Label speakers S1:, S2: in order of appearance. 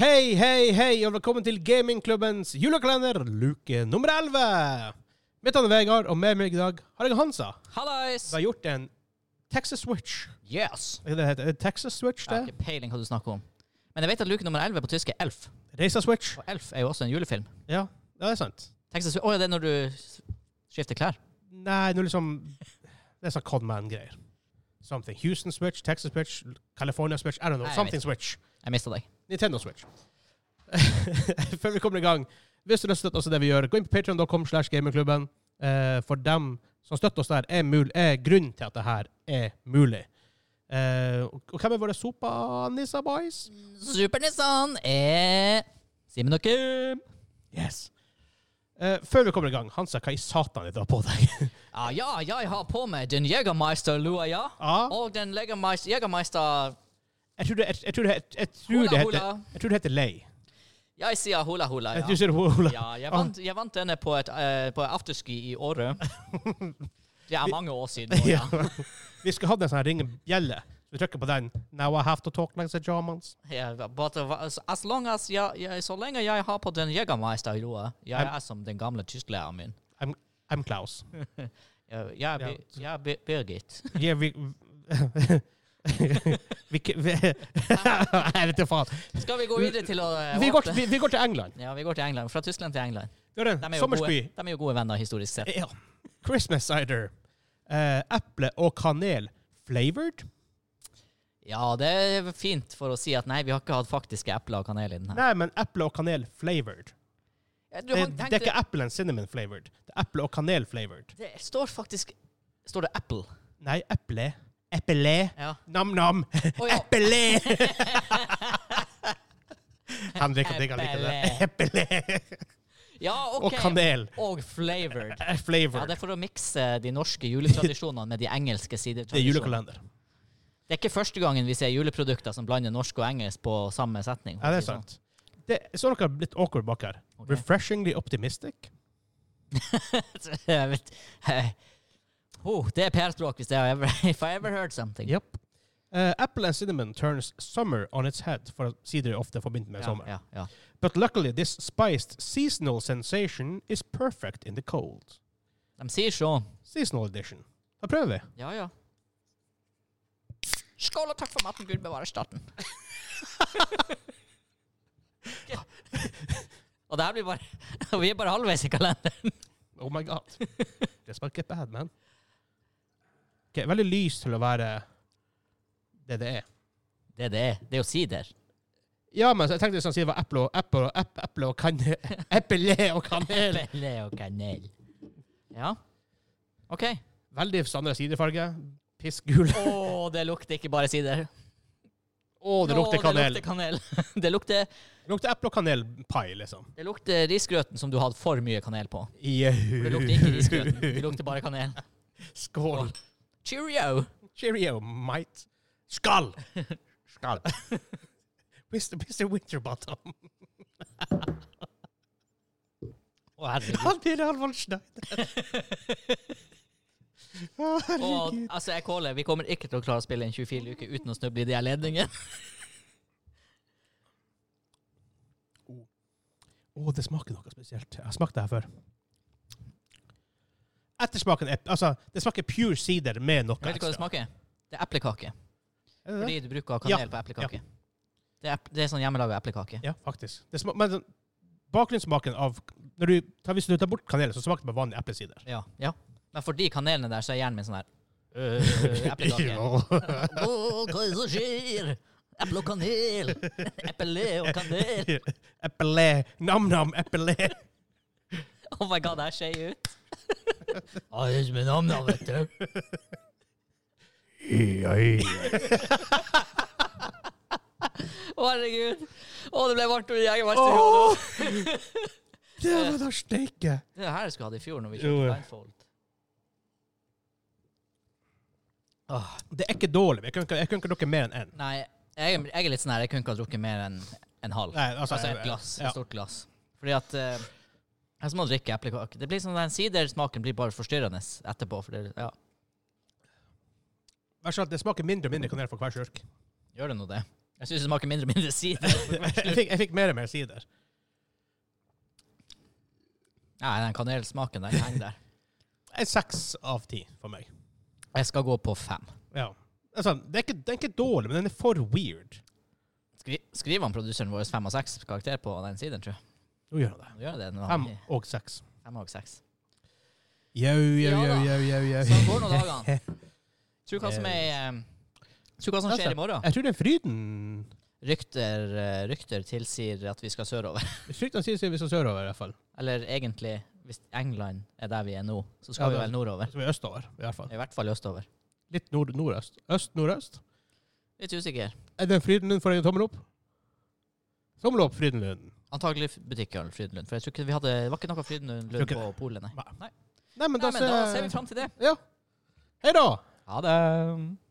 S1: Hei, hei, hei, og velkommen til Gamingklubbens julekalender, luke nummer 11. Mitt navn er Vegard, og med meg i dag har jeg Hansa.
S2: Hallais!
S1: Vi har gjort en Texas Switch.
S2: Yes!
S1: Er det det heter? Er det Texas Switch,
S2: Jeg
S1: det?
S2: har ikke peiling hva du snakker om. Men jeg vet at luke nummer 11 på tysk er Elf.
S1: Reisa Switch.
S2: Og Elf er jo også en julefilm.
S1: Ja, det er sant.
S2: Texas, Å, er det når du s- skifter klær?
S1: Nei, nå liksom Det er sånn Codman-greier. Something. Houston Switch, Texas Switch, California Switch, I don't know.
S2: Nei, jeg
S1: something Switch.
S2: Jeg mista deg.
S1: Nintendo Switch. Før vi kommer i gang, hvis du har lyst til å støtte oss i det vi gjør, gå inn på patreon.com slash gamingklubben. Eh, for dem som støtter oss der, er, mul er grunnen til at det her er mulig. Eh, og og hvem er våre sopa-nissa boys?
S2: Super-Nissan er Simen og Kim.
S1: Yes. Eh, før vi kommer i gang, Hansa, hva i satan er det du har på deg?
S2: Ja, ja, jeg har på meg den Jegermeister-lua, ja.
S1: Ja,
S2: Og den Legermeis- Jegermeister
S1: jeg tror det, jeg, jeg tror det, jeg, jeg tror
S2: Hula
S1: det heter
S2: Hula.
S1: Jeg tror det heter lei.
S2: Jeg sier hula hula,
S1: Du
S2: ja.
S1: sier hula.
S2: ja jeg, vant, jeg vant denne på, et, eh, på afterski i Åre. Det er mange år siden. nå,
S1: Ah, Ja.
S2: Ja.
S1: vi skulle hatt en sånn her ringebjelle. Så vi trykker på den. Now I have to talk like the Germans.
S2: Yeah, but- but uh, as, as long as jeg, jeg, så lenge jeg har på den Jegermeister-lua, jeg
S1: Em-
S2: er som den gamle tysklæreren min.
S1: I'm, I'm Klaus.
S2: Jeg, jeg, er Bi-
S1: Ja.
S2: jeg er Bi- Birgit.
S1: Ja, vi vi, k- vi Jeg vet ikke faen.
S2: Skal vi gå videre til å eh,
S1: Vi går,
S2: åpne-
S1: til- vi, vi går til England.
S2: Ja, vi går til England. Fra Tyskland til England.
S1: Det er
S2: De
S1: en
S2: er jo,
S1: sommersby.
S2: gode, de er jo gode venner historisk sett.
S1: Ja. Christmas cider. Eh, eple og kanel flavored?
S2: Ja, det er fint for å si at nei, vi har ikke hatt faktiske epler og kanel i den her.
S1: Nei, men eple og kanel flavored. Det,
S2: Du, han
S1: det er
S2: tenkte,
S1: ikke eple and cinnamon flavored. Det er eple og kanel flavored.
S2: det står faktisk Står det Apple?
S1: Nei, eple. Eple.
S2: Ja.
S1: Nam-nam.
S2: Å, ja.
S1: Eple! Han liker ting han liker. det. Eple.
S2: ja, ok.
S1: Og kanel.
S2: Og flavored.
S1: Eh,
S2: Ja, det
S1: Flavored.
S2: er for å mikse de norske juletradisjonene med de engelske
S1: Det er
S2: sidetradisjonene.
S1: julekalender.
S2: Det er ikke første gangen vi ser juleprodukter som blander norsk og engelsk på samme setning.
S1: Ja, det er sant. Det, så dere har blitt awkward bak her.
S2: Ok.
S1: Refreshingly optimistic.
S2: Jeg vet- oh, det er PR-språk hvis det har ever, if I ever heard something.
S1: Yep. Uh, apple and cinnamon turns summer on its head, for sider er ofte forbundet med
S2: Ja,
S1: sommer.
S2: ja, ja.
S1: But luckily this spiced seasonal sensation is perfect in the cold.
S2: De sier så.
S1: Seasonal edition. Da prøver vi.
S2: Ja, ja. Skål og takk for maten, Gud bevarer staten. og det her blir bare Vi er bare halvveis i kalenderen.
S1: Oh my god. det smaker ikke bad, man. Ok, veldig lys til å være det det er.
S2: Det er det. er. Det er jo sider.
S1: Ja, men jeg tenkte hvis han sier det var eple og, eple og, eple, eple og kanel. Eple og kanel.
S2: Pelle og kanel. Ja. OK.
S1: Veldig standard sidefarge. Pissgul.
S2: Å, det lukter ikke bare sider.
S1: Å, det lukter
S2: Å,
S1: kanel.
S2: Det lukter kanel. Det lukter,
S1: Det lukter eple og kanelpai, liksom.
S2: det lukter risgrøten som du hadde for mye kanel på. For Det lukter ikke risgrøten, det
S1: Jau.
S2: lukter bare kanel.
S1: Skål.
S2: Cheerio!
S1: Cheerio, mate. Skål! Skål. Mr. Mr. Winterbottom.
S2: Å, herregud.
S1: Han blir Alvald Schneider. Å,
S2: Og,
S1: herregud.
S2: altså, jeg caller, vi kommer ikke til å klare å spille inn 24 uker uten å snuble i de her ledningene.
S1: Å, det smaker noe spesielt. Jeg har smakt det her før. Ettersmaken er Altså, det smaker pure sider med noe
S2: Vet du hva det
S1: ekstra.
S2: smaker? Det er eplekake.
S1: Er det det?
S2: Fordi du bruker
S1: Ja,
S2: kanel på eplekake. Det, er, ep- det er sånn hjemmelaga eplekake.
S1: Ja, faktisk. Det sma men sånn, bakgrunnssmaken av når du tar, Hvis du tar bort kanelen, så smaker det bare vanlig eplesider.
S2: Ja. ja. Men for de kanelene der, så er hjernen min sånn her. eplekake.
S1: Ja.
S2: Å, hva er det som skjer? Eple og kanel. Eple og kanel.
S1: Eple. Nam-nam, eple.
S2: Oh my god, jeg skjei ut. Ja, det er som en amna, vet du. Å, herregud. Å, det ble varmt under jegermeister i hodet.
S1: Åh! Det var da steike.
S2: Det her skulle jeg hatt i fjor når vi
S1: Jo,
S2: kjøpte
S1: ja.
S2: blindfold.
S1: Det er ikke dårlig. men Jeg kunne ikke, jeg kunne ikke drukke mer enn én.
S2: Nei, jeg, jeg er litt sånn her, jeg kunne ikke ha drukket mer enn en halv.
S1: Nei,
S2: altså,
S1: jeg-
S2: et glass,
S1: Ja.
S2: et stort glass. Fordi at... eh, jeg som må drikke eplekake. Det blir sånn den sidersmaken blir bare forstyrrende etterpå. For det, ja.
S1: Vær så snill, Det smaker mindre og mindre kanel for hver slurk.
S2: Gjør det nå det? Jeg syns det smaker mindre og mindre sider.
S1: jeg, fikk, jeg fikk mer og mer sider.
S2: Nei, den kanelsmaken den henger der.
S1: En seks av ti for meg.
S2: Jeg skal gå på fem.
S1: Ja. Altså, det er ikke, den er ikke dårlig, men den er for weird.
S2: Skri, skriver han produseren vår fem og seks karakter på den siden, tror jeg?
S1: Nå gjør han det.
S2: Han gjør det når han
S1: Fem og seks.
S2: fem og seks.
S1: Jau, jau,
S2: Ja
S1: jau,
S2: da.
S1: jau, jau, jau.
S2: Så han går noen dagene. Tror hva som er eh, Tror hva som skjer i morgen.
S1: Jeg tror den fryden
S2: Rykter, eh, rykter tilsier at vi skal sørover.
S1: Fryktene sier seg hvis vi sørover, i hvert fall.
S2: Eller egentlig, hvis England er der vi er nå, så skal
S1: Ja,
S2: vi
S1: det-
S2: vel nordover.
S1: Som er østover, i hvert fall.
S2: I hvert fall østover.
S1: Litt nord, nordøst. Øst, nordøst.
S2: Litt usikker.
S1: Er den fryden din for en tommel opp? Tommel opp, Fryden Lund.
S2: Antagelig butikkøl Frydenlund. For jeg tror ikke vi hadde, det var ikke noe Frydenlund
S1: Tror ikke
S2: på polet, nei.
S1: Nei, men da,
S2: nei, men da ser vi fram til det.
S1: Hei da!
S2: Ha det.